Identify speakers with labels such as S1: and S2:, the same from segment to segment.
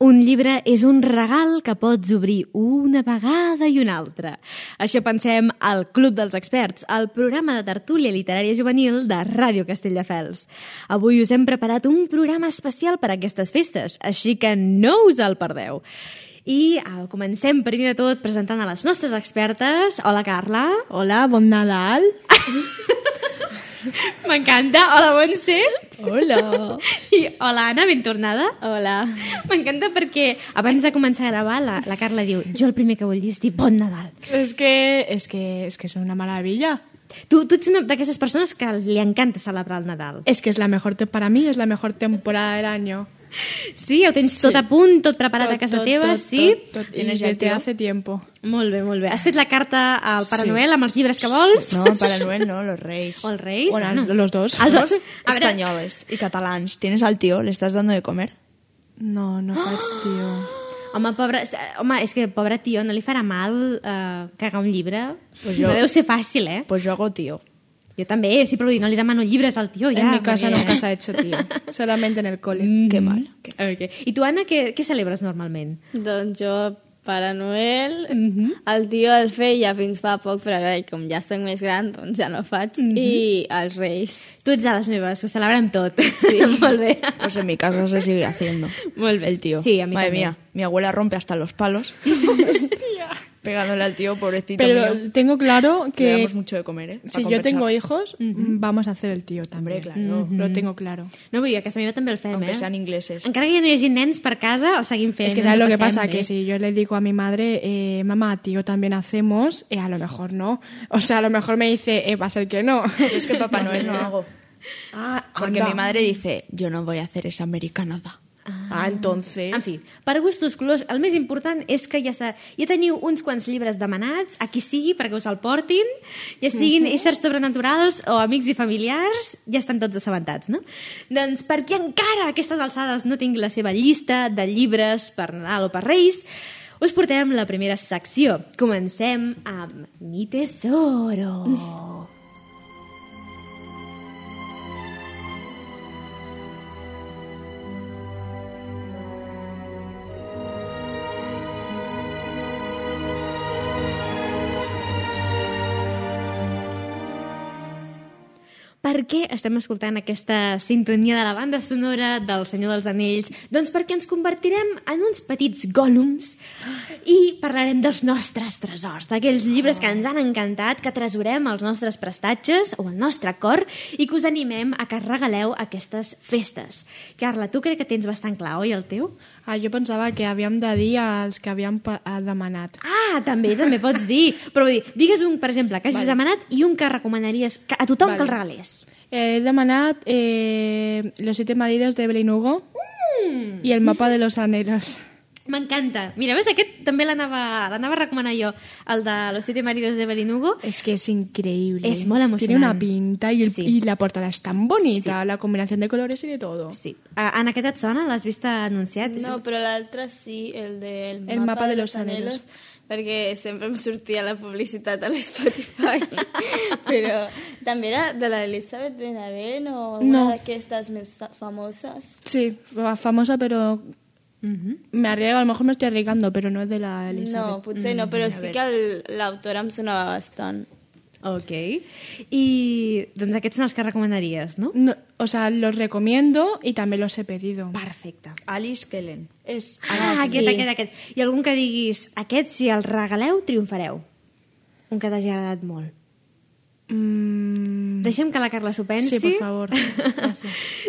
S1: Un llibre és un regal que pots obrir una vegada i una altra. Això pensem al Club dels Experts, al programa de tertúlia literària juvenil de Ràdio Castelldefels. Avui us hem preparat un programa especial per a aquestes festes, així que no us el perdeu. I ah, comencem primer de tot presentant a les nostres expertes. Hola, Carla.
S2: Hola, bon Nadal.
S1: M'encanta. Hola, Montse.
S2: Hola.
S1: I hola, Anna, ben tornada.
S2: Hola.
S1: M'encanta perquè abans de començar a gravar la, la Carla diu jo el primer que vull dir és dir bon Nadal.
S2: Es que, es que, es que es una maravilla.
S1: Tu, tu ets una d'aquestes persones que li encanta celebrar el Nadal.
S2: Es que es la mejor, te- para mí es la mejor temporada del año.
S1: Sí, ho tens sí. tot a punt, tot preparat a casa
S2: Tot, tot,
S1: teva,
S2: tot,
S1: sí?
S2: Tot, tot. Y desde hace tiempo.
S1: Molt bé, molt bé. Has fet la carta al Pare
S3: Sí.
S1: Noel amb els llibres que vols?
S3: No, Para Noel no, los reyes.
S1: O els Reis?
S2: Bueno,
S1: no.
S2: los dos.
S1: Els dos. A veure,
S3: Españoles y catalanes. Tienes al tío, le estás dando de comer.
S2: No, no faig, tio.
S1: home, pobre, home, és que pobre tio, no li farà mal eh, cagar un llibre?
S3: Pues
S1: No
S3: jo-
S1: deu ser fàcil, eh?
S3: Pues yo hago tío.
S1: Jo també, sí, però vull dir, no li demano llibres al tio, ja.
S2: en mi casa
S1: perquè-
S2: nunca se ha hecho, tío. Solamente en el cole.
S3: Mm. Qué mal.
S1: Okay. I tu, Anna, què, què celebres normalment?
S4: Doncs jo, Pare Noel,
S2: Mhm.
S4: el tio el feia fins fa poc, però ara com ja estic més gran, doncs ja no faig,
S2: Mhm.
S4: i els Reis.
S1: Tu ets de les meves, ho celebrem tot. Sí. Molt bé.
S3: Pues en mi casa se sigue haciendo.
S1: Vuelve.
S3: El tío.
S1: Sí, a mí
S3: Madre
S1: también.
S3: mía, mi abuela rompe hasta los palos. Pegándole al tío, pobrecito
S2: Pero
S3: mío.
S2: tengo claro
S3: Le
S2: que
S3: damos mucho de comer, ¿eh? Pa
S2: si yo
S3: compensar.
S2: tengo hijos, vamos a hacer el tío también.
S3: Hombre, claro.
S2: Lo tengo claro.
S1: No vull dir, a casa meva també el fem,
S3: Aunque
S1: eh?
S3: sean ingleses.
S1: Encara que ja no hi hagi nens per casa, el seguim fent.
S2: Es que
S1: ens
S2: sabes lo que
S1: passem
S2: pasa,
S1: bé.
S2: que si yo le digo a mi madre, eh, mamá, tío, también hacemos, eh, a lo mejor no. O sea, a lo mejor me dice, eh, va a ser que no.
S3: Yo es que Papá Noel no hago.
S2: Ah,
S3: Porque
S2: anda.
S3: mi madre dice, yo no voy a hacer esa americanada.
S2: Ah, entonces.
S1: En fi, per gustos colors, el més important és que ja, sa- ja teniu uns quants llibres demanats, a qui sigui, perquè us el portin, ja siguin éssers sobrenaturals o amics i familiars, ja estan tots assabentats, no? Doncs per qui encara a aquestes alçades no tingui la seva llista de llibres per Nadal o per Reis, us portem la primera secció. Comencem amb Mi Tesoro. Per què estem escoltant aquesta sintonia de la banda sonora del Senyor dels Anells? Doncs perquè ens convertirem en uns petits gòlums i parlarem dels nostres tresors, d'aquells llibres que ens han encantat, que tresorem als nostres prestatges o al nostre cor i que us animem a que regaleu aquestes festes. Carla, tu crec que tens bastant clar, oi, el teu?
S2: Ah, jo pensava que havíem de dir als que havíem pa- ah, demanat.
S1: Ah, també, també pots dir. Però vull dir, digues un, per exemple, que hagis vale. demanat i un que recomanaries que- a tothom vale.
S2: Vale.
S1: que el regalés.
S2: He demanat eh, Los siete maridos de Evelyn Hugo y el mapa de los anhelos.
S1: M'encanta. Mira, veus, aquest també l'anava l'anava a recomanar jo, el de Los siete maridos de Evelyn Hugo.
S2: Es que es increíble.
S1: Es mola
S2: Tiene
S1: emocionante.
S2: una pinta y, el-
S1: Sí.
S2: y la portada es tan bonita, la combinación de colores y de todo.
S1: Sí. Ah, Anna, aquest et sona? L'has vist anunciat?
S4: No, però l'altre sí, el del
S2: El mapa de los anhelos.
S4: perquè sempre em sortia la publicitat a l'Spotify, però també era de l'Elisabet Benavent o una
S2: No.
S4: d'aquestes més famoses.
S2: Sí, fa- famosa, pero me arriesgo, a lo mejor me estoy arriesgando, pero no es de la Elizabeth. Mm,
S4: No, potser no, però sí que el- l'autora em sonava bastant.
S1: Ok. I doncs aquests són els que recomanaries, no?
S2: No, o sea, los recomiendo y también los he pedido.
S1: Perfecte.
S3: Alice Kellen.
S2: Es,
S1: Ah, aquest, aquest, aquest. I algun que diguis, aquest si el regaleu triomfareu. Un que t'hagi agradat molt.
S2: Mm,
S1: Deixem que la Carla s'ho pensi.
S2: Sí, por favor.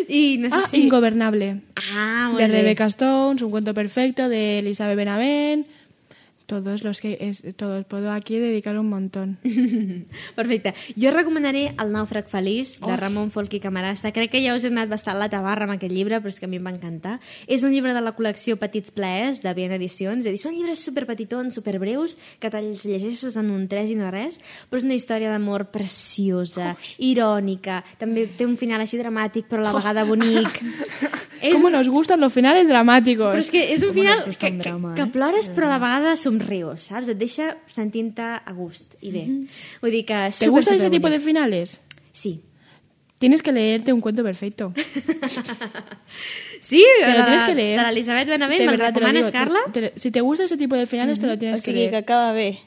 S1: I no sé
S2: ah,
S1: si...
S2: Ingobernable.
S1: Ah, molt
S2: de
S1: bé.
S2: Rebecca Stones, un cuento perfecto de Elizabeth Benavent. Todos los que es- todos puedo aquí dedicar un montón.
S1: Perfecte. Jo recomanaré El nàufrag feliç, de Ramon Folk i Camarasa. Crec que ja us he anat bastant la tabarra amb aquest llibre, però és que a mi em va encantar. És un llibre de la col·lecció Petits Plaers, de Bien Edicions. És a dir, són llibres superpetitons, superbreus, que te'ls llegeixes en un tres i no res, però és una història d'amor preciosa, irònica, també té un final així dramàtic, però a la vegada bonic. És
S2: ¿Cómo nos gustan los finales dramáticos?
S1: però és que és un final
S3: gusta
S1: que,
S3: un drama,
S1: que, que
S3: eh?
S1: plores però a la vegada somrius, saps? Et deixa
S2: Mhm.
S1: sentint-te a gust i bé. Vull dir que...
S2: ¿Te gustan ese tipo de finales?
S1: Sí.
S2: Tienes que leerte un cuento perfecto.
S1: Sí,
S2: Te lo
S1: la-
S2: tienes que leer.
S1: De l'Elisabet Benavent,
S2: De
S1: me'n
S2: verdad, te lo
S1: recomanes,
S2: digo, te-
S1: Carla?
S2: te- si te gusta ese tipo de finales, te lo
S4: O
S2: tienes que
S4: sigui,
S2: leer.
S4: que acaba bé.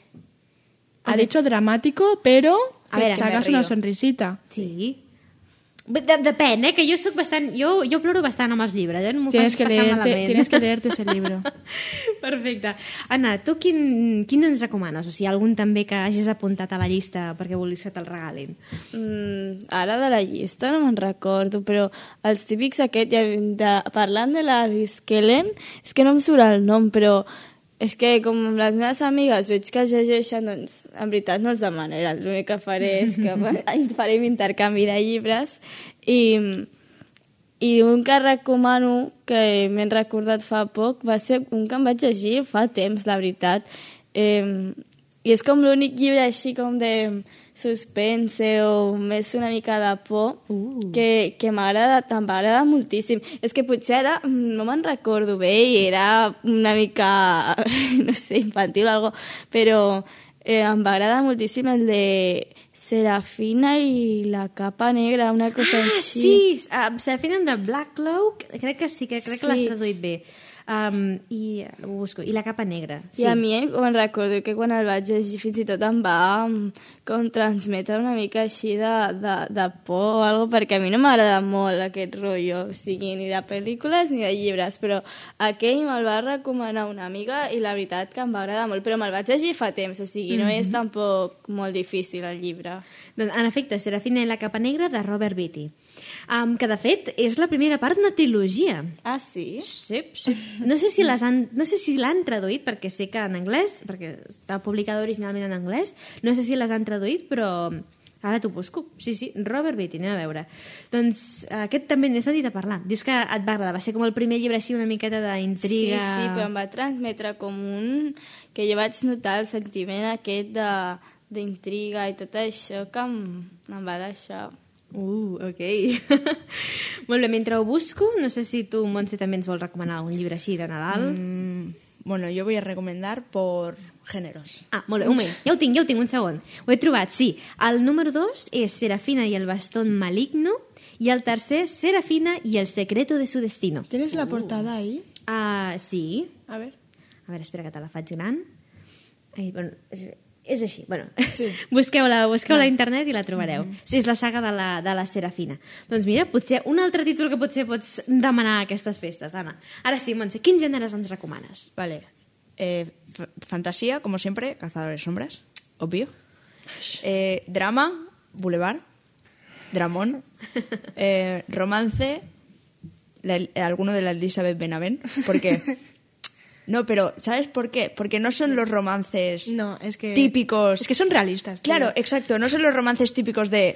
S2: Ha dicho dramático, pero
S1: A ver,
S2: que sacas
S3: me río.
S2: una sonrisita.
S1: Sí. Bé, De, depèn, eh? Que jo sóc bastant... Jo, jo ploro bastant amb els llibres, eh? No m'ho
S2: Tienes
S1: facis
S2: que,
S1: passar
S2: leerte,
S1: malament.
S2: tienes que leerte ese libro.
S1: Perfecte. Anna, tu quin, quin ens recomanes? O sigui, algun també que hagis apuntat a la llista perquè vulguis que te'l regalin?
S4: Mm, ara de la llista no me'n recordo, però els típics aquest, ja, de, parlant de la Riskelen, és que no em surt el nom, però és que com les meves amigues veig que els llegeixen, doncs en veritat no els demanaré, l'únic que faré és que farem intercanvi de llibres i, i un que recomano, que m'he recordat fa poc, va ser un que em vaig llegir fa temps, la veritat. Eh, I és com l'únic llibre així com de suspense o més una mica de por
S1: Uh.
S4: que, que m'agrada, em va agradar moltíssim. És que potser ara mm, no me'n recordo bé i era una mica, no sé, infantil o algo, però eh, em va agradar moltíssim el de Serafina i la capa negra, una cosa
S1: ah,
S4: així.
S1: sí! Um, Serafina and the Black Cloak, crec que sí, que crec que l'has
S4: Sí.
S1: traduït bé. Um, i, eh, ho busco. I la capa negra.
S4: Sí.
S1: Sí.
S4: I a mi me'n recordo que quan el vaig llegir fins i tot em va mm, com transmetre una mica així de, de, de por o algo, perquè a mi no m'agrada molt aquest rotllo, o sigui, ni de pel·lícules ni de llibres, però aquell me'l va recomanar una amiga i la veritat que em va agradar molt, però me'l vaig llegir fa temps, o sigui, no és tampoc molt difícil el llibre.
S1: Doncs, en efecte, Serafina i la capa negra de Robert Beatty. Um, que, de fet, és la primera part d'una trilogia.
S4: Ah, sí?
S1: Sí, sí. No sé si les han, no sé si l'han traduït, perquè sé que en anglès, perquè està publicada originalment en anglès, no sé si les han traduït, però ara t'ho busco. Sí, sí, Robert Beatty, anem a veure. Doncs eh, aquest també n'he sentit a parlar. Dius que et va agradar, va ser com el primer llibre així una miqueta d'intriga.
S4: Sí, sí, però em va transmetre com un... que jo vaig notar el sentiment aquest de d'intriga i tot això que em, em va deixar.
S1: Uh, ok. Molt bé, mentre ho busco, no sé si tu, Montse, també ens vols recomanar algun llibre així de Nadal.
S3: Mm, bueno, yo voy a recomendar por géneros.
S1: Ah, molt bé, un moment. Ja ho tinc, ja ho tinc, un segon. Ho he trobat, sí. El número dos és Serafina i el bastón maligno i el tercer, Serafina i el secreto de su destino.
S2: ¿Tienes la portada ahí?
S1: Ah, sí.
S2: A ver.
S1: A veure, espera que te la faig gran. Ai, bueno, és, és així. Bueno, sí. busqueu-la busqueu a internet i la trobareu. Mm. Sí, és la saga de la, de la Serafina. Doncs mira, potser un altre títol que potser pots demanar a aquestes festes, Anna. Ara sí, Montse, quins gèneres ens recomanes?
S3: Vale. Eh, f- fantasía, como siempre, Cazadores de Sombras, obvio. Eh, drama, Boulevard, Dramón. Eh, romance, la- eh, alguno de la Elizabeth Benavent. Porque. No, pero ¿sabes por qué? Porque no son los romances
S2: No, este- es que.
S3: típicos.
S2: Es que son realistas. tío.
S3: Claro, exacto. No son los romances típicos de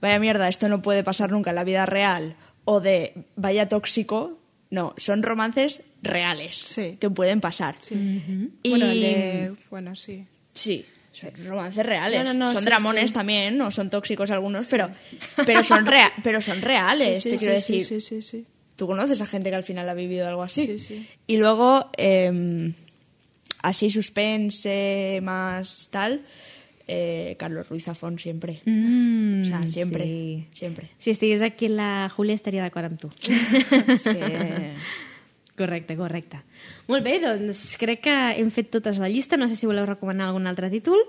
S3: vaya mierda, esto no puede pasar nunca en la vida real o de vaya tóxico. No, son romances reales
S2: Sí.
S3: que pueden pasar. Y
S2: Bueno, el de- bueno, sí.
S3: sí, son romances reales.
S2: No, no, no,
S3: son
S2: sí,
S3: dramones
S2: sí.
S3: también, no son tóxicos algunos, pero pero son rea- pero son reales,
S2: sí,
S3: te
S2: sí,
S3: este quiero
S2: sí,
S3: decir.
S2: sí, sí, sí.
S3: Tú conoces a gente que al final ha vivido algo así.
S2: Sí, sí.
S3: Y luego, eh, así suspense, más tal, eh, Carlos Ruiz Zafón siempre.
S1: Mm,
S3: o sea, siempre,
S1: sí.
S3: siempre.
S1: Si estigués aquí, la Júlia estaria d'acord amb tu.
S3: Es que-
S1: Correcte, correcte. Molt bé, doncs crec que hem fet totes la llista. No sé si voleu recomanar algun altre títol.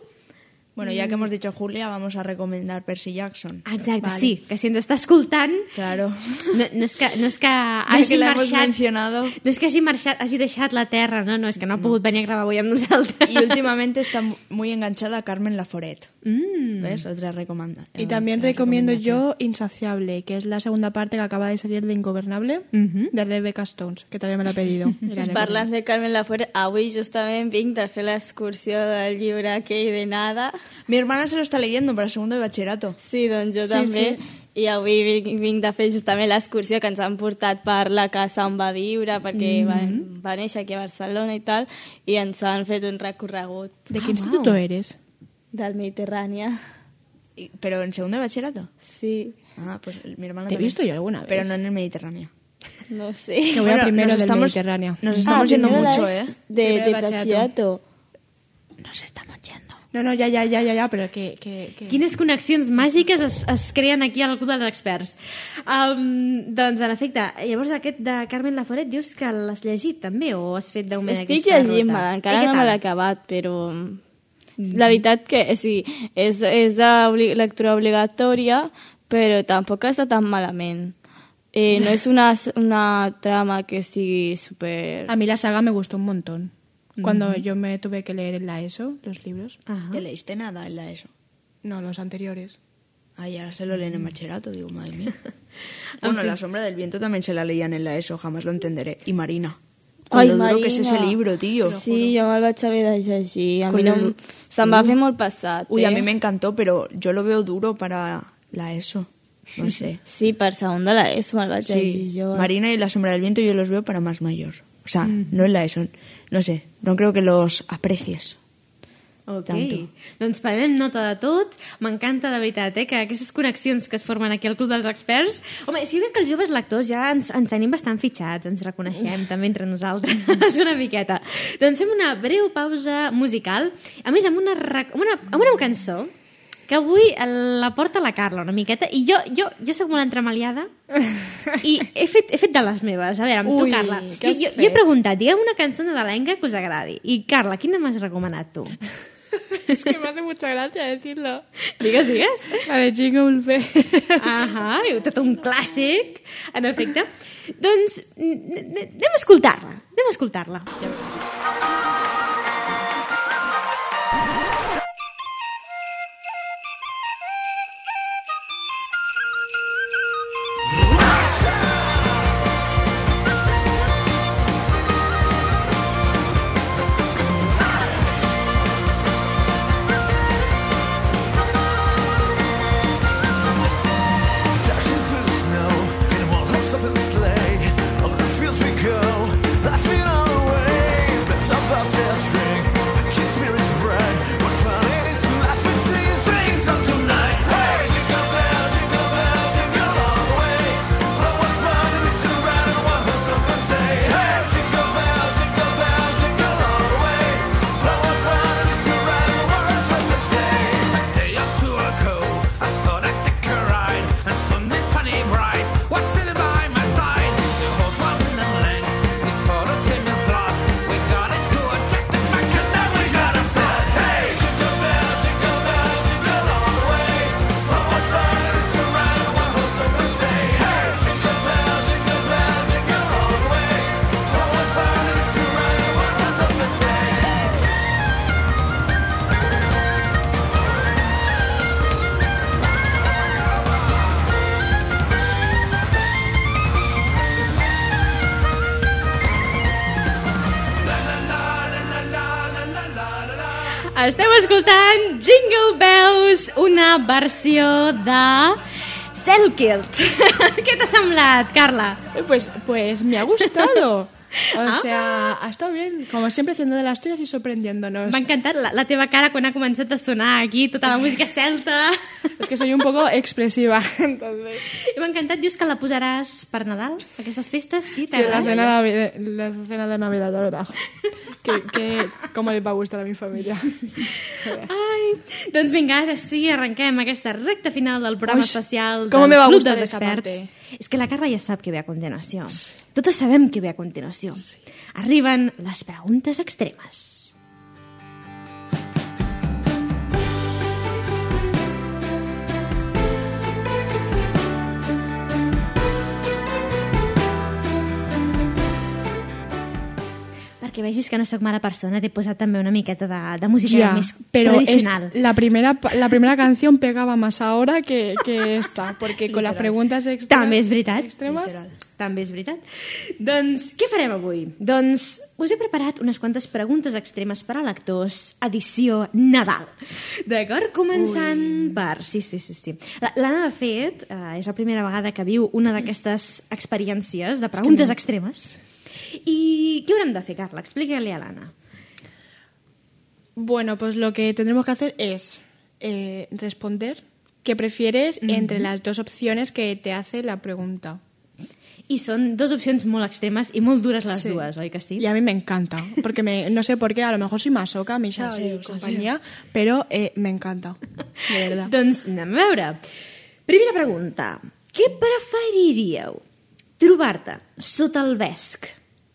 S3: Bueno, ya que
S2: Mm.
S3: hemos dicho Julia, vamos a recomendar Percy Jackson.
S1: Exacte, vale. sí, que si ens està escoltant...
S3: Claro.
S1: No, no és que, no és que
S3: Ya
S1: hagi
S3: que la hemos
S1: marxat...
S3: mencionado.
S1: No és que hagi marxat, hagi deixat la terra, no, no, és que no ha pogut venir a gravar avui amb nosaltres.
S3: Y últimamente está mu- muy enganchada a Carmen Laforet. ¿Ves? Otra recomanda.
S2: Mm.
S3: eh,
S2: Y también
S3: otra
S2: recomiendo
S3: recomendación.
S2: yo Insaciable, que es la segunda parte que acaba de salir de Ingobernable, de Rebecca Stones, que también me la ha pedido. Y la
S4: Doncs
S2: recomiendo.
S4: parlant de Carmen Laforet, avui justament vinc de fer l'excursió del llibre aquell de Nada.
S3: Mi hermana se lo está leyendo para segundo de bachillerato.
S4: Sí, doncs jo
S2: Sí,
S4: sí, també.
S2: sí.
S4: Sí. I avui vinc, vinc de fer justament l'excursió que ens han portat per la casa on va viure, perquè mm -hmm. va, va néixer aquí a Barcelona i tal, i ens han fet un recorregut
S2: ¿De qué instituto eres?
S4: del Mediterrània.
S3: Y- ¿Pero en segundo de bachillerato?
S4: Sí,
S3: Ah, pues el- mi hermana
S2: Te he
S3: también.
S2: visto yo alguna vez.
S3: Pero no en el Mediterráneo.
S4: no sé.
S2: Que voy a
S3: Bueno,
S2: primero
S3: nos
S2: del
S3: estamos-
S2: Mediterráneo. Ah,
S3: Nos estamos yendo
S4: primero
S3: mucho,
S4: la
S3: ¿eh?
S4: es Ah, De,
S2: Primero de
S4: de
S2: bachillerato.
S4: bachillerato.
S3: Nos estamos yendo.
S2: No, no, ja, ja, ja, ja, ja però que... que, que...
S1: Quines connexions màgiques es, es creen aquí al Club dels Experts. Um, doncs, en efecte, llavors aquest de Carmen Laforet dius que l'has llegit també o has fet d'un moment
S4: Estic
S1: aquesta
S4: llegint-me,
S1: ruta? I
S4: encara
S1: què
S4: no me
S1: tal?
S4: l'he acabat, però... mm, La veritat que eh, sí, és, és de obli- lectura obligatòria, però tampoc està tan malament. Eh, no és una, s- una trama que sigui super...
S2: A mí la saga me gustó un montón. Cuando yo me tuve que leer en la ESO, los libros.
S1: Ajá.
S3: ¿Te leíste nada en la ESO?
S2: No, los anteriores.
S3: Ay, ahora se lo leen en bachillerato, digo, madre mía. Bueno, La sombra del viento también se la leían en la ESO, jamás lo entenderé. Y Marina. Con lo duro que es ese libro, tío.
S4: Sí, jo me'l vaig haver de llegir. A
S3: Con
S4: mi no...
S3: lo-
S4: em- Se'm va fer molt passat,
S3: Uy,
S4: eh?
S3: a mí me encantó, pero yo lo veo duro para la ESO. No sé.
S4: Sí, per segon de l'ESO me'l vaig llegir
S3: Sí,
S4: jo.
S3: Marina y La sombra del viento yo los veo para más mayor. O sea,
S2: Mm.
S3: no en la ESO. No sé, no creo que los aprecies.
S1: Ok,
S3: Tanto.
S1: doncs prenem nota de tot. M'encanta, de veritat, eh, que aquestes connexions que es formen aquí al Club dels Experts... Home, sí, jo crec que els joves lectors ja ens, ens tenim bastant fitxats, ens reconeixem també entre nosaltres una miqueta. Doncs fem una breu pausa musical, a més amb una, rec- amb una, amb una cançó que avui la porta la Carla una miqueta, i jo, jo, jo sóc molt entremaliada i he fet, he fet de les meves. A veure, amb
S2: Ui,
S1: tu, Carla. Jo,
S2: què has
S1: jo, jo he
S2: fet?
S1: preguntat, digue'm una cançó nadalenca que us agradi. I, Carla, quina m'has recomanat tu?
S2: es que me hace mucha gracia decirlo.
S1: Digues, digues.
S2: La de Jingle Ulfe.
S1: Ahà, heu tot un clàssic, en efecte. Doncs n- n- anem a escoltar-la, anem a escoltar-la.
S5: Dashing through the snow in one horse open sleigh. Over the fields we go, laughing all the way. Bent up our sail string, the kids' spirits bright. What fun it is to laugh and sing and sing song tonight. Hey, jingle bells, jingle bells, jingle all the way. Oh, what fun it is to ride in a one horse open sleigh. Hey, jingle bells, jingle bells, jingle all the way. Oh, what fun it is to ride in a one horse open sleigh. A day or two ago, I thought I'd take a ride. And soon this funny bride was sitting by my side. The horse was in a blank, this photo seemed a slot. We got into a check the back and then we got upset. Hey, jingle bells, jingle bells, jingle all the way. Oh, what fun it is to ride in one horse open sleigh. Hey, jingle bells, jingle bells, jingle all the way. Oh, what fun it is to ride in a one horse open sleigh.
S1: Esteu escoltant Jingle Bells, una versió de Selkilt. Què t'ha semblat, Carla?
S2: Pues, pues me ha gustado. O sea, ha estado bien. Como siempre, haciendo de las tuyas y sorprendiéndonos.
S1: M'ha encantat la, la teva cara quan ha començat a sonar aquí tota la música celta.
S2: Es que soy un poco expresiva, entonces.
S1: I M'ha encantat, dius que la posaràs per Nadal, aquestes festes, sí,
S2: Sí, la
S1: t'agrada?
S2: cena, de Navidad, la cena de Navidad, la verdad. Que, que, ¿Cómo les va a gustar a mi familia?
S1: Ai, doncs vinga, ara sí, arrenquem aquesta recta final del programa
S2: Uix,
S1: especial
S2: com
S1: del
S2: me va
S1: Club
S2: gustar
S1: dels
S2: esta
S1: Experts.
S2: parte.
S1: És que la Carla ja sap que ve a continuació. Totes sabem que ve a continuació. Arriben les preguntes extremes. Perquè vegis que no sóc mala persona, t'he posat també una miqueta de, de música més
S2: pero es-
S1: tradicional.
S2: la, primera, pa- la primera canción pegaba más ahora que, que esta, porque con las preguntas extremas,
S1: També és veritat.
S2: extremas
S1: També és veritat. Doncs què farem avui? Doncs us he preparat unes quantes preguntes extremes per a lectors, edició Nadal. D'acord? Començant Ui. per... Sí, sí, sí. sí. La- L'Anna, de fet, eh, és la primera vegada que viu una d'aquestes experiències de preguntes extremes. I què haurem de fer, Carla? Explica-li a l'Anna.
S2: Bueno, pues lo que tendremos que hacer es eh, responder qué prefieres entre las dos opciones que te hace la pregunta.
S1: I són dos opcions molt extremes i molt dures les
S2: Sí.
S1: dues, oi que sí?
S2: Y a mí me encanta, porque me- no sé por qué, a lo mejor soy masoca, mi y compañía, pero eh, me encanta, de verdad.
S1: Doncs anem a veure. Primera pregunta. Què preferiríeu? Trobar-te sota el vesc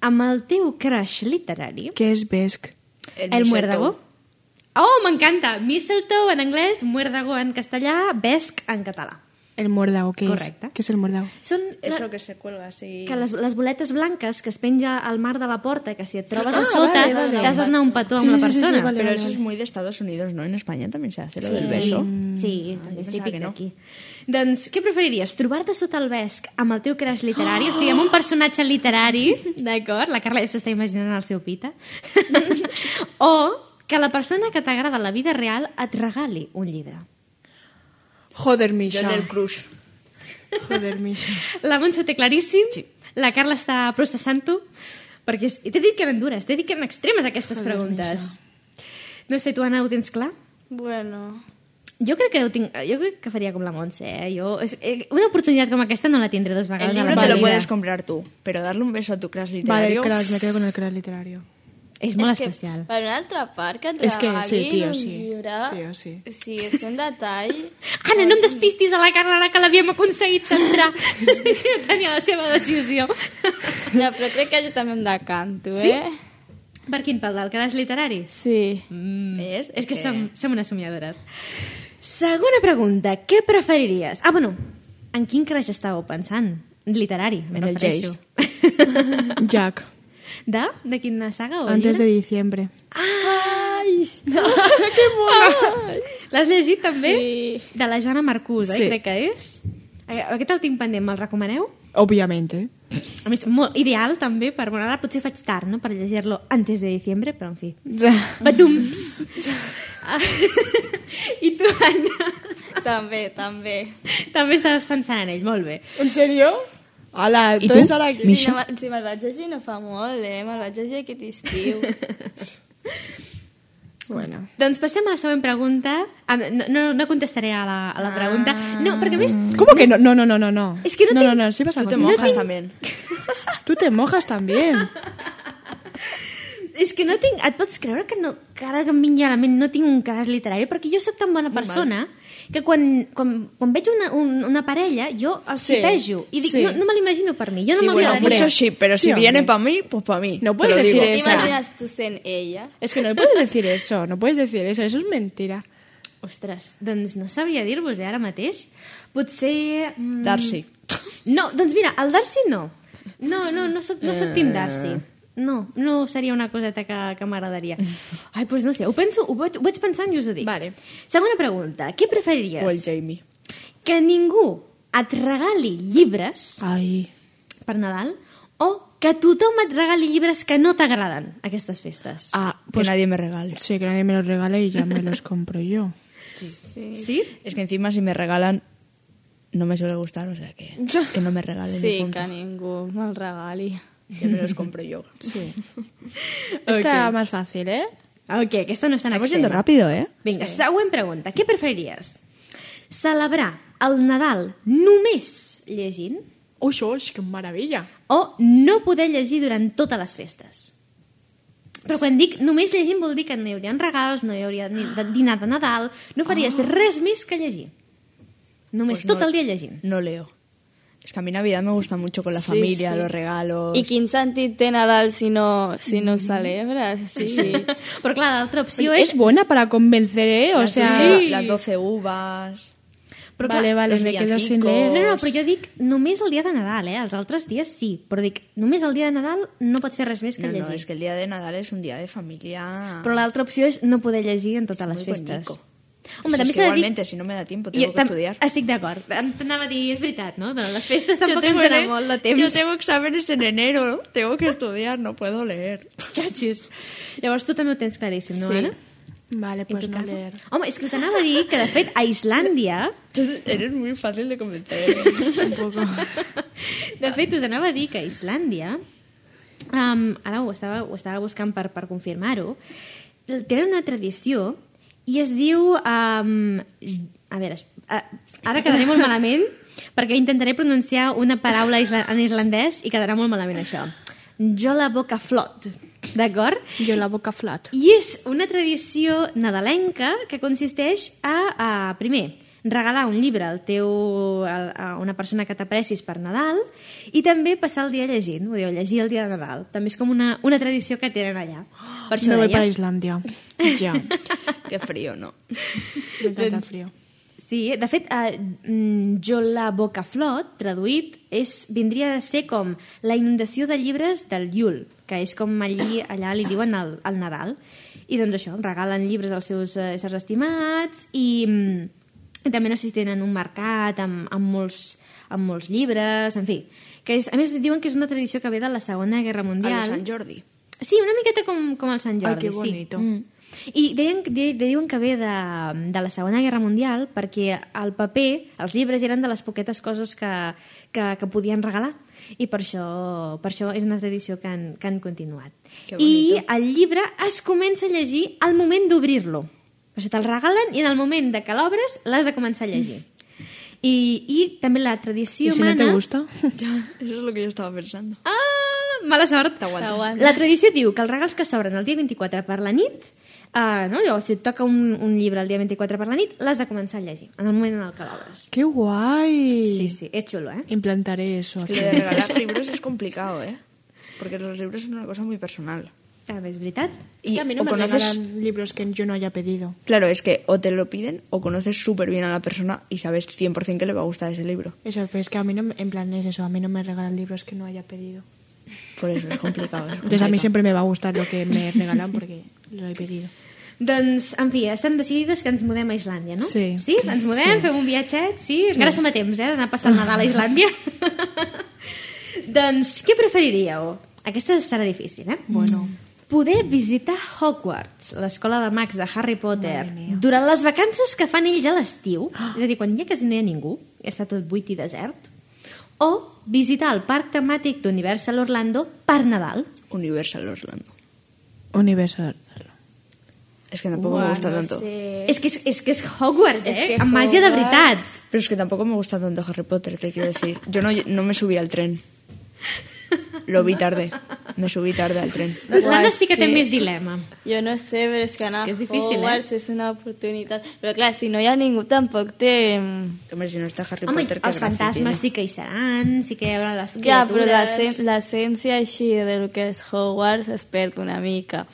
S1: amb el teu crush literari,
S2: ¿Qué es Besk?
S1: el, el muérdago? Oh, m'encanta! Mistletoe en anglès, muérdago en castellà, vesc en català.
S2: El muérdago, ¿qué
S1: Correcto.
S2: es? ¿Qué es el muérdago?
S1: Són
S3: Eso que se cuelga así.
S1: que les, les boletes blanques que es penja al mar de la porta, que si et trobes a
S2: Ah,
S1: sota
S2: vale, vale.
S1: t'has de donar un petó
S2: Sí,
S1: amb
S2: sí,
S1: la
S2: sí, sí,
S1: persona.
S2: vale,
S3: Pero
S2: vale,
S3: eso
S2: vale.
S3: es muy de Estados Unidos, ¿no? En España también se hace lo del beso.
S1: Sí, també és
S3: pensava
S1: típic
S3: que no.
S1: d'aquí. Doncs què preferiries? Trobar-te sota el vesc amb el teu crush literari, o sigui, amb un personatge literari, d'acord? La Carla ja s'està imaginant el seu pita. o que la persona que t'agrada a la vida real et regali un llibre.
S2: Joder,
S3: Yo
S2: Misha.
S3: el del crush.
S2: Joder, Misha.
S1: La Montse ho té claríssim, la Carla està processant-ho, perquè és... i t'he dit que eren dures, t'he dit que eren extremes aquestes preguntes. No sé, tu, Anna, ho tens clar?
S4: Bueno,
S1: Jo crec que ho tinc, jo crec que faria com la Montse, eh? Jo, és, eh, una oportunitat com aquesta no la tindré dos vegades.
S3: El
S1: a la
S3: libro te
S1: meva
S3: lo
S2: Vale.
S1: vida.
S3: puedes comprar tú, pero darle un beso a tu crush
S2: Vale, el
S3: literario.
S2: crash, me quedo con el crash literario.
S1: És molt
S4: és que
S1: especial.
S4: per una altra part, que et
S2: És que sí,
S4: regalin
S2: tio,
S4: un
S2: sí.
S4: llibre...
S2: Tio, sí.
S4: Sí, és un detall...
S1: Anna, no em despistis a la Carla ara que l'havíem aconseguit centrar. Tenia la seva decisió.
S4: No, però crec que jo també em decanto, eh?
S1: per quin pal? Del crash literari?
S4: Sí.
S1: Mm.
S3: És-
S1: és que
S3: és que-
S1: som, som unes somiadores. Segona pregunta. Què preferiries? Ah, bueno, en quin crash estàveu pensant? Literari, me
S3: En el
S1: refereixo.
S2: Jack,
S1: De? De quina saga o
S2: antes de
S1: llibre?
S2: diciembre.
S1: Ai! que mona! L'has llegit també? Sí. De la Joana Marcús, eh,
S2: Sí.
S1: crec que és. Eh, Aquest el tinc pendent, me'l recomaneu?
S2: Obviamente.
S1: A més, molt ideal també per... Bueno, ara potser faig tard, no?, per llegir-lo antes de diciembre, però en fi. Batum! Ah, I tu, Anna,
S4: També, també.
S1: també estaves pensant en ell, molt bé.
S2: ¿En serio? Hola,
S3: ¿Y tú?
S2: entonces ahora que...
S4: Si, no, me- si me'l vaig llegir no fa molt, eh? Me'l vaig llegir aquest estiu.
S2: Bueno.
S1: Doncs passem a la següent pregunta. Ah, No, no, no contestaré a la, a la pregunta. No, perquè a més...
S2: ¿Cómo que no? No, no, no, no, no.
S1: Es que no
S2: no,
S1: te-
S2: no, no, sí vas a
S3: Tú te
S2: continuar.
S3: mojas también.
S2: Tú te mojas también.
S1: És que no tinc... Et pots creure que, no, que ara que em vingui a la ment no tinc un cas literari? Perquè jo sóc tan bona persona que quan, quan, quan veig una, un, una parella jo el
S2: Sí,
S1: cipejo i dic,
S2: sí.
S1: no, no me l'imagino per mi. Jo no
S2: Sí,
S1: me
S3: Bueno,
S2: Hombre.
S3: mucho sí, pero
S2: Sí,
S3: si viene
S2: hombre.
S3: para mí, pues para mí.
S2: No
S3: Te
S2: puedes
S3: lo
S2: decir
S3: digo.
S2: eso.
S4: T'imagines tu sent ella?
S2: Es que no puedes decir eso, no puedes decir eso, eso es mentira.
S1: Ostres, doncs no sabria dir-vos eh, ara mateix. Potser... mm,
S3: Darcy.
S1: No, doncs mira, el Darcy no. No, no, no soc, no soc Tim Darcy. No, no seria una coseta que, que m'agradaria. Ai, doncs no sé, ho penso, ho vaig, ho vaig pensant i us ho dic.
S2: Vale.
S1: Segona pregunta, què
S2: Mm.
S1: preferiries?
S3: O el Jamie.
S1: que ningú et regali llibres
S2: Ay.
S1: per Nadal o que tothom et regali llibres que no t'agraden aquestes festes.
S2: Ah,
S3: Pues
S2: pues
S3: que nadie me regale.
S2: sí, que nadie me los regale y ya me los compro yo.
S1: Sí?
S3: Es que encima si me regalan, no me suele gustar, o sea que, que no me regalen.
S4: Sí,
S3: y punto.
S4: que ningú me'l regali.
S3: Ya me los compro yo.
S2: Está más fácil, ¿eh?
S1: Ok, aquesta no és tan
S3: Estamos
S1: extrema.
S3: yendo rápido, ¿eh?
S1: Vinga, sí. següent pregunta. Què preferiries? Celebrar el Nadal només llegint
S2: Uy, uy, qué maravilla.
S1: o no poder llegir durant totes les festes? Però quan dic només llegint vol dir que no hi haurien regals, no hi hauria ni de- dinar de Nadal, no faries oh. res més que llegir. Només pues
S3: Pues
S1: tot
S3: no-
S1: el dia llegint.
S3: No leo. Es que a mí Navidad me gusta mucho con la
S4: Sí,
S3: familia,
S4: sí.
S3: los regalos.
S4: I quin sentit té Nadal si no, si no ho celebres? Sí, sí.
S1: Però clar, l'altra opció
S2: Es
S1: és...
S2: buena para convencer, ¿eh? O
S3: las,
S2: sea,
S3: doce- las 12 uvas.
S1: Però clar, eh,
S2: vale, vale,
S3: los
S2: me quedo sin
S3: villancicos.
S1: No,
S2: leer.
S1: no, però jo dic només el dia de Nadal, eh? Els altres dies sí, però dic només el dia de Nadal no pots fer res més que
S3: No, no,
S1: llegir.
S3: es que el día de Nadal es un día de familia.
S1: Però l'altra opció és no poder llegir en totes
S3: És
S1: les
S3: muy
S1: festes.
S3: bonico.
S1: Home,
S3: Si
S1: també
S3: es que
S1: s'ha de dir...
S3: igualmente, si no me da tiempo, tengo
S1: Jo
S3: que
S1: tam-
S3: estudiar.
S1: Estic d'acord. Em- T'anava a dir, és veritat, no? Durant les festes
S3: Yo
S1: tampoc ens dona
S3: ne-
S1: molt de
S3: yo
S1: temps.
S3: eh? tengo exámenes en enero, tengo que estudiar, no puedo leer.
S1: Catxis. Llavors tu també ho tens claríssim, no, sí. Anna?
S2: Vale, pues
S1: Tu,
S2: no
S1: Carme?
S2: leer.
S1: Home, és que us anava a dir que, de fet, a Islàndia
S3: Entonces, eres muy fácil de comentar.
S1: De fet, us anava a dir que a Islàndia, um, ara ho estava, ho estava buscant per, per confirmar-ho, tenen una tradició i es diu... Um, a veure, es- a- ara quedaré molt malament, perquè intentaré pronunciar una paraula isla en islandès i quedarà molt malament això. Jo la boca flot, d'acord?
S2: Jo la boca flat.
S1: I és una tradició nadalenca que consisteix a, a primer, regalar un llibre al teu, al- a una persona que t'apressis per Nadal i també passar el dia llegint, ho diu, llegir el dia de Nadal. També és com una, una tradició que tenen allà. Per això
S2: Me voy
S1: deia-
S2: para Islandia. Ja.
S3: Qué frío, ¿no?
S2: M'encanta el frío.
S1: Sí, de fet, eh, mm, jo la boca flot, traduït, és, vindria de ser com la inundació de llibres del Yul, que és com allí, allà li diuen el, el Nadal. I doncs això, regalen llibres als seus eh, éssers estimats i, mm, i també no sé si tenen un mercat amb, amb, molts, amb molts llibres, en fi. Que és, a més, diuen que és una tradició que ve de la Segona Guerra
S3: A
S1: Mundial.
S3: lo San Jordi.
S1: Sí, una miqueta com, com el Sant Jordi,
S2: Ai, que bonito.
S1: sí. I deien, de, de diuen que ve de, de la Segona Guerra Mundial perquè el paper, els llibres, eren de les poquetes coses que, que, que podien regalar i per això, per això és una tradició que han, que han continuat.
S3: Que
S1: I
S3: bonito.
S1: el llibre es comença a llegir al moment d'obrir-lo. O sigui, te'l regalen i en el moment de que l'obres l'has de començar a llegir.
S2: Mm.
S1: I, I també la
S2: I
S1: tradició
S2: si no
S1: mana...
S2: te gusta?
S3: Ya, eso es lo que yo estaba pensando.
S1: Ah, mala sort.
S3: T'aguanta.
S4: T'aguanta.
S1: La tradició diu que els regals que s'obren el dia 24 per la nit, uh, no? Llavors, si et toca un, un llibre el dia 24 per la nit, l'has de començar a llegir, en el moment en el que l'obres.
S2: Qué guay.
S1: Sí, sí, és xulo, eh?
S2: Implantaré eso.
S3: Es que lo de regalar libros es complicado, ¿eh? Porque los libros son una cosa muy personal.
S1: També Ah, és veritat.
S3: Y
S2: a mí
S3: o
S2: no me
S3: conoces-
S2: regalan libros que yo no haya pedido.
S3: Claro, es que o te lo piden o conoces súper bien a la persona y sabes 100% que le va a gustar ese libro.
S2: Eso, pero es que a mí no, me- en plan es eso, a mí no me regalan libros que no haya pedido.
S3: Por eso es complicado. es
S2: Entonces a mí
S3: complicado.
S2: siempre me va a gustar lo que me regalan porque lo he pedido.
S1: Doncs, en fi, estem decidides que ens mudem a Islàndia, no?
S2: Sí.
S1: Sí? Ens mudem, sí. fem un viatget, sí? Encara som a temps, eh, d'anar a passar el Nadal a Islàndia. doncs, què preferiríeu? Aquesta serà difícil, eh?
S2: Bueno.
S1: Poder visitar Hogwarts, l'escola de mags de Harry Potter, durant les vacances que fan ells a l'estiu, és a dir, quan ja quasi no hi ha ningú, i està tot buit i desert, o visitar el parc temàtic d'Universal Orlando per Nadal.
S3: Universal Orlando.
S2: Universal.
S3: Es que tampoco me gusta tanto.
S1: És que és, és, que és Hogwarts, eh?
S4: És que
S1: Amb màgia de
S4: Hogwarts-
S1: veritat.
S3: Pero es que tampoco me gusta tanto Harry Potter, te quiero decir. Yo no, no me subí al tren. Lo vi tarde. Me subí tarde al tren.
S1: L'Anna
S4: Guai,
S1: Doncs sí que té
S4: sí.
S1: més dilema.
S4: Yo no sé, pero es que Ana
S1: que es difícil,
S4: Hogwarts es una oportunidad. Pero claro, si no hay ningún tampoco te...
S3: Hombre, si no está Harry
S1: Home,
S3: Potter, ¿qué
S1: els
S3: gracia
S1: fantasmes
S3: tiene?
S1: sí que hi seran, sí que hi haurà les criatures...
S4: Ya, pero la, sen- la esencia així de lo que es Hogwarts es perd una mica.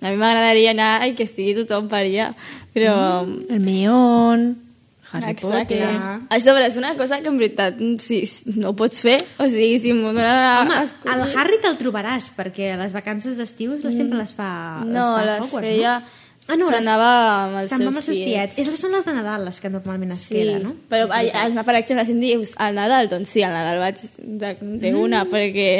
S4: A mí me agradaría nada y que estigui tothom per allà, però...
S2: El millón. Harry
S4: Exacte.
S2: Potter.
S4: A sobre, és una cosa que en veritat si no ho pots fer, o sigui, si m'ho dona la...
S1: Home,
S4: excusa-
S1: el Harry te'l trobaràs, perquè les vacances d'estiu les- sempre les fa...
S4: Mm. No,
S1: fa
S4: les
S1: Ah, Hogwarts,
S4: feia...
S1: Ah, no, les-
S4: S'anava amb els
S1: Se'n va amb els seus
S4: seus
S1: tiets.
S4: tiets.
S1: És, són les de Nadal les que normalment es sí.
S4: Sí,
S1: queda, no?
S4: però
S1: És
S4: a,
S1: veritat.
S4: a, per exemple, si em dius al Nadal, doncs sí, al Nadal vaig de, de una, perquè...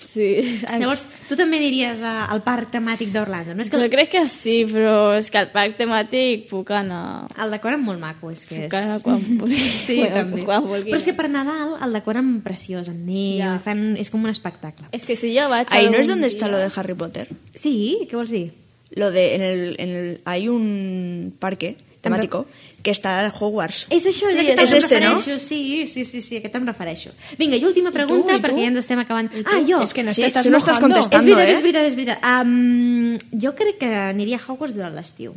S4: Sí,
S1: Llavors, tu també diries a, al parc temàtic d'Orlando, no? És que
S4: jo crec que sí, però és que al parc temàtic puc anar...
S1: el decor és molt maco, és que és...
S4: Puc anar quan vulgui.
S1: Sí,
S4: Bueno,
S1: també.
S4: Quan vulgui.
S1: Però és que per Nadal el decor és preciós, amb neu,
S4: Ja.
S1: i fan, és com un espectacle.
S4: és que si jo vaig...
S3: Ahí no es
S4: algun
S3: donde
S4: dia-
S3: está lo de Harry Potter.
S1: Sí, què vols dir?
S3: Lo de en el, en el hay un parque temático que está el Hogwarts.
S2: Eh,
S1: És això, és
S4: Sí,
S1: sí, aquest
S4: és
S1: em
S3: este, no?
S1: refereixo. Sí, sí, sí, sí, a aquest em refereixo. Vinga, i última pregunta,
S2: i tu?
S1: perquè ja ens estem acabant. Ah, jo!
S2: Es que no
S3: Sí,
S2: te estás
S3: tú no estás
S2: mojando.
S1: És
S3: contestando,
S1: veritat,
S3: eh?
S1: és veritat, és veritat. Um, jo crec que aniria a Hogwarts durant l'estiu.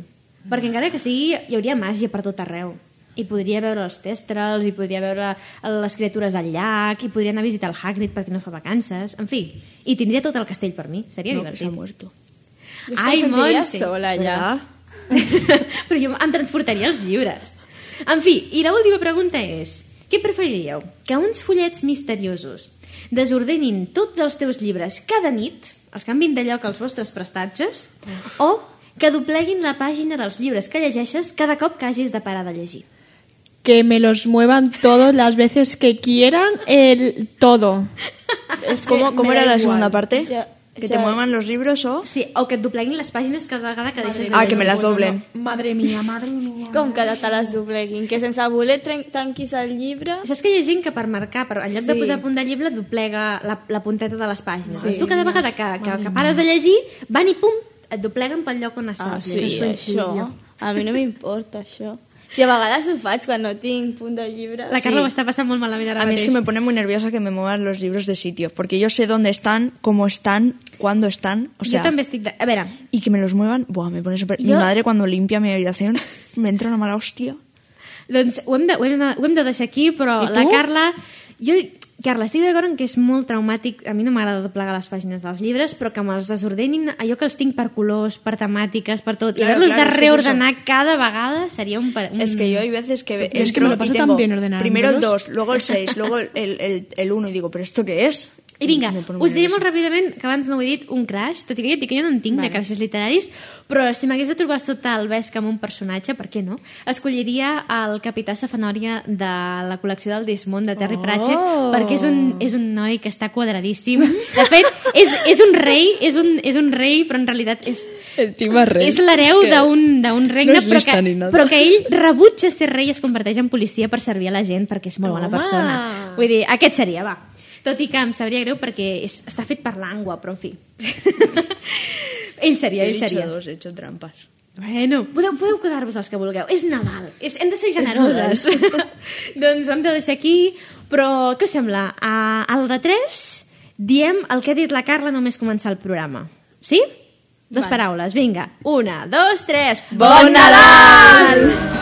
S1: Perquè encara que sigui, hi hauria màgia per tot arreu. I podria veure els testrals, i podria veure les criatures del llac, i podria anar a visitar el Hagrid perquè no fa vacances. En fi, i tindria tot el castell per mi. Seria
S3: No, que se ha
S1: divertit.
S3: muerto.
S4: Jo és que em sentiria sola, ja.
S3: ¿Verdad?
S1: Però jo em transportaria els llibres. En fi, i l'última pregunta és... Què preferiríeu? Que uns fullets misteriosos desordenin tots els teus llibres cada nit, els canvin de lloc als vostres prestatges, o que dobleguin la pàgina dels llibres que llegeixes cada cop que hagis de parar de llegir.
S2: Que me los muevan todas las veces que quieran, el todo. Es que
S3: ¿Cómo, cómo
S2: me da
S3: era la
S2: igual.
S3: segunda parte?
S4: Ya,
S3: que te
S4: ya.
S3: muevan los libros o...
S1: Sí, o que et dobleguin les pàgines cada vegada que deixes de llegir.
S3: Ah, que me las doblen.
S2: Madre mía, madre mía.
S4: Com que te les dobleguin? Que sense voler tren- tanquis el llibre...
S1: Saps que hi ha gent que per marcar, per, en lloc sí. de
S4: Sí.
S1: posar punt de llibre, doblega la, la punteta de les pàgines. Sí. Tu cada vegada que, que, que pares de llegir, van i pum, et dobleguen pel lloc on estàs
S4: Ah, sí,
S1: llegint.
S4: això. A mi no m'importa, això. Si a vegades ho faig quan no tinc punt de llibre.
S1: La Carla ho està passant molt malament ara
S3: A mí es
S1: mateix.
S3: que me pone muy nerviosa que me muevan los libros de sitio, porque yo sé dónde están, cómo están, cuándo están, o sea,
S1: jo també estic... De... A veure,
S3: y que me los muevan, buah, me pone súper... Mi
S1: Yo-
S3: madre cuando limpia mi habitación me entra una mala hostia.
S1: Doncs ho hem de, ho hem de, ho hem de deixar aquí, però
S2: I tu?
S1: la Carla... Jo, Carla, estic d'acord en que és molt traumàtic. A mi no m'agrada doblegar les pàgines dels llibres, però que me'ls desordenin allò que els tinc per colors, per temàtiques, per tot. I
S3: Claro,
S1: haver-los
S3: claro,
S1: de
S3: és que és
S1: reordenar cada vegada seria un... pa- un...
S3: Es que yo hay veces
S2: pero
S3: que
S2: Mm. es que me lo
S3: entro
S2: paso
S3: y
S2: tan
S3: tengo
S2: bien ordenándolos.
S3: primero el 2, luego el 6, luego el 1 el, el uno, y digo, ¿pero esto qué es?
S1: I vinga,
S3: Me pone muy
S2: pues
S1: us diré
S3: nerviosa.
S1: molt ràpidament, que abans no ho he dit, un crash, tot i que jo et dic que jo no en tinc vale. de crashes literaris, però si m'hagués de trobar sota el vesc amb un personatge, per què no? Escolliria el capità Safanòria de la col·lecció del Dismond de Terry oh. Pratchett, perquè és un, és un noi que està quadradíssim. De fet, és, és un rei, és un, és un rei, però en realitat és,
S6: Encima rey.
S1: és l'hereu
S6: Es que-
S1: d'un d'un regne,
S6: no és
S1: però,
S6: lista ni
S1: que,
S6: nada.
S1: però que ell rebutja ser rei i es converteix en policia per servir a la gent perquè és molt bona
S2: Toma.
S1: persona. Vull dir, aquest seria, va. Tot i que em sabria greu perquè és, està fet per l'angua, però en fi. ell seria,
S3: Yo he
S1: ell
S3: dicho
S1: seria.
S3: dos, he hecho trampas.
S1: Bueno, podeu, podeu quedar-vos els que vulgueu. És Nadal, és, hem de ser generoses. doncs ho hem de deixar aquí, però què us sembla? A, a la de 3 diem el que ha dit la Carla només començar el programa. Sí? Dos paraules, vinga. Una, dos, tres.
S4: Bon Nadal!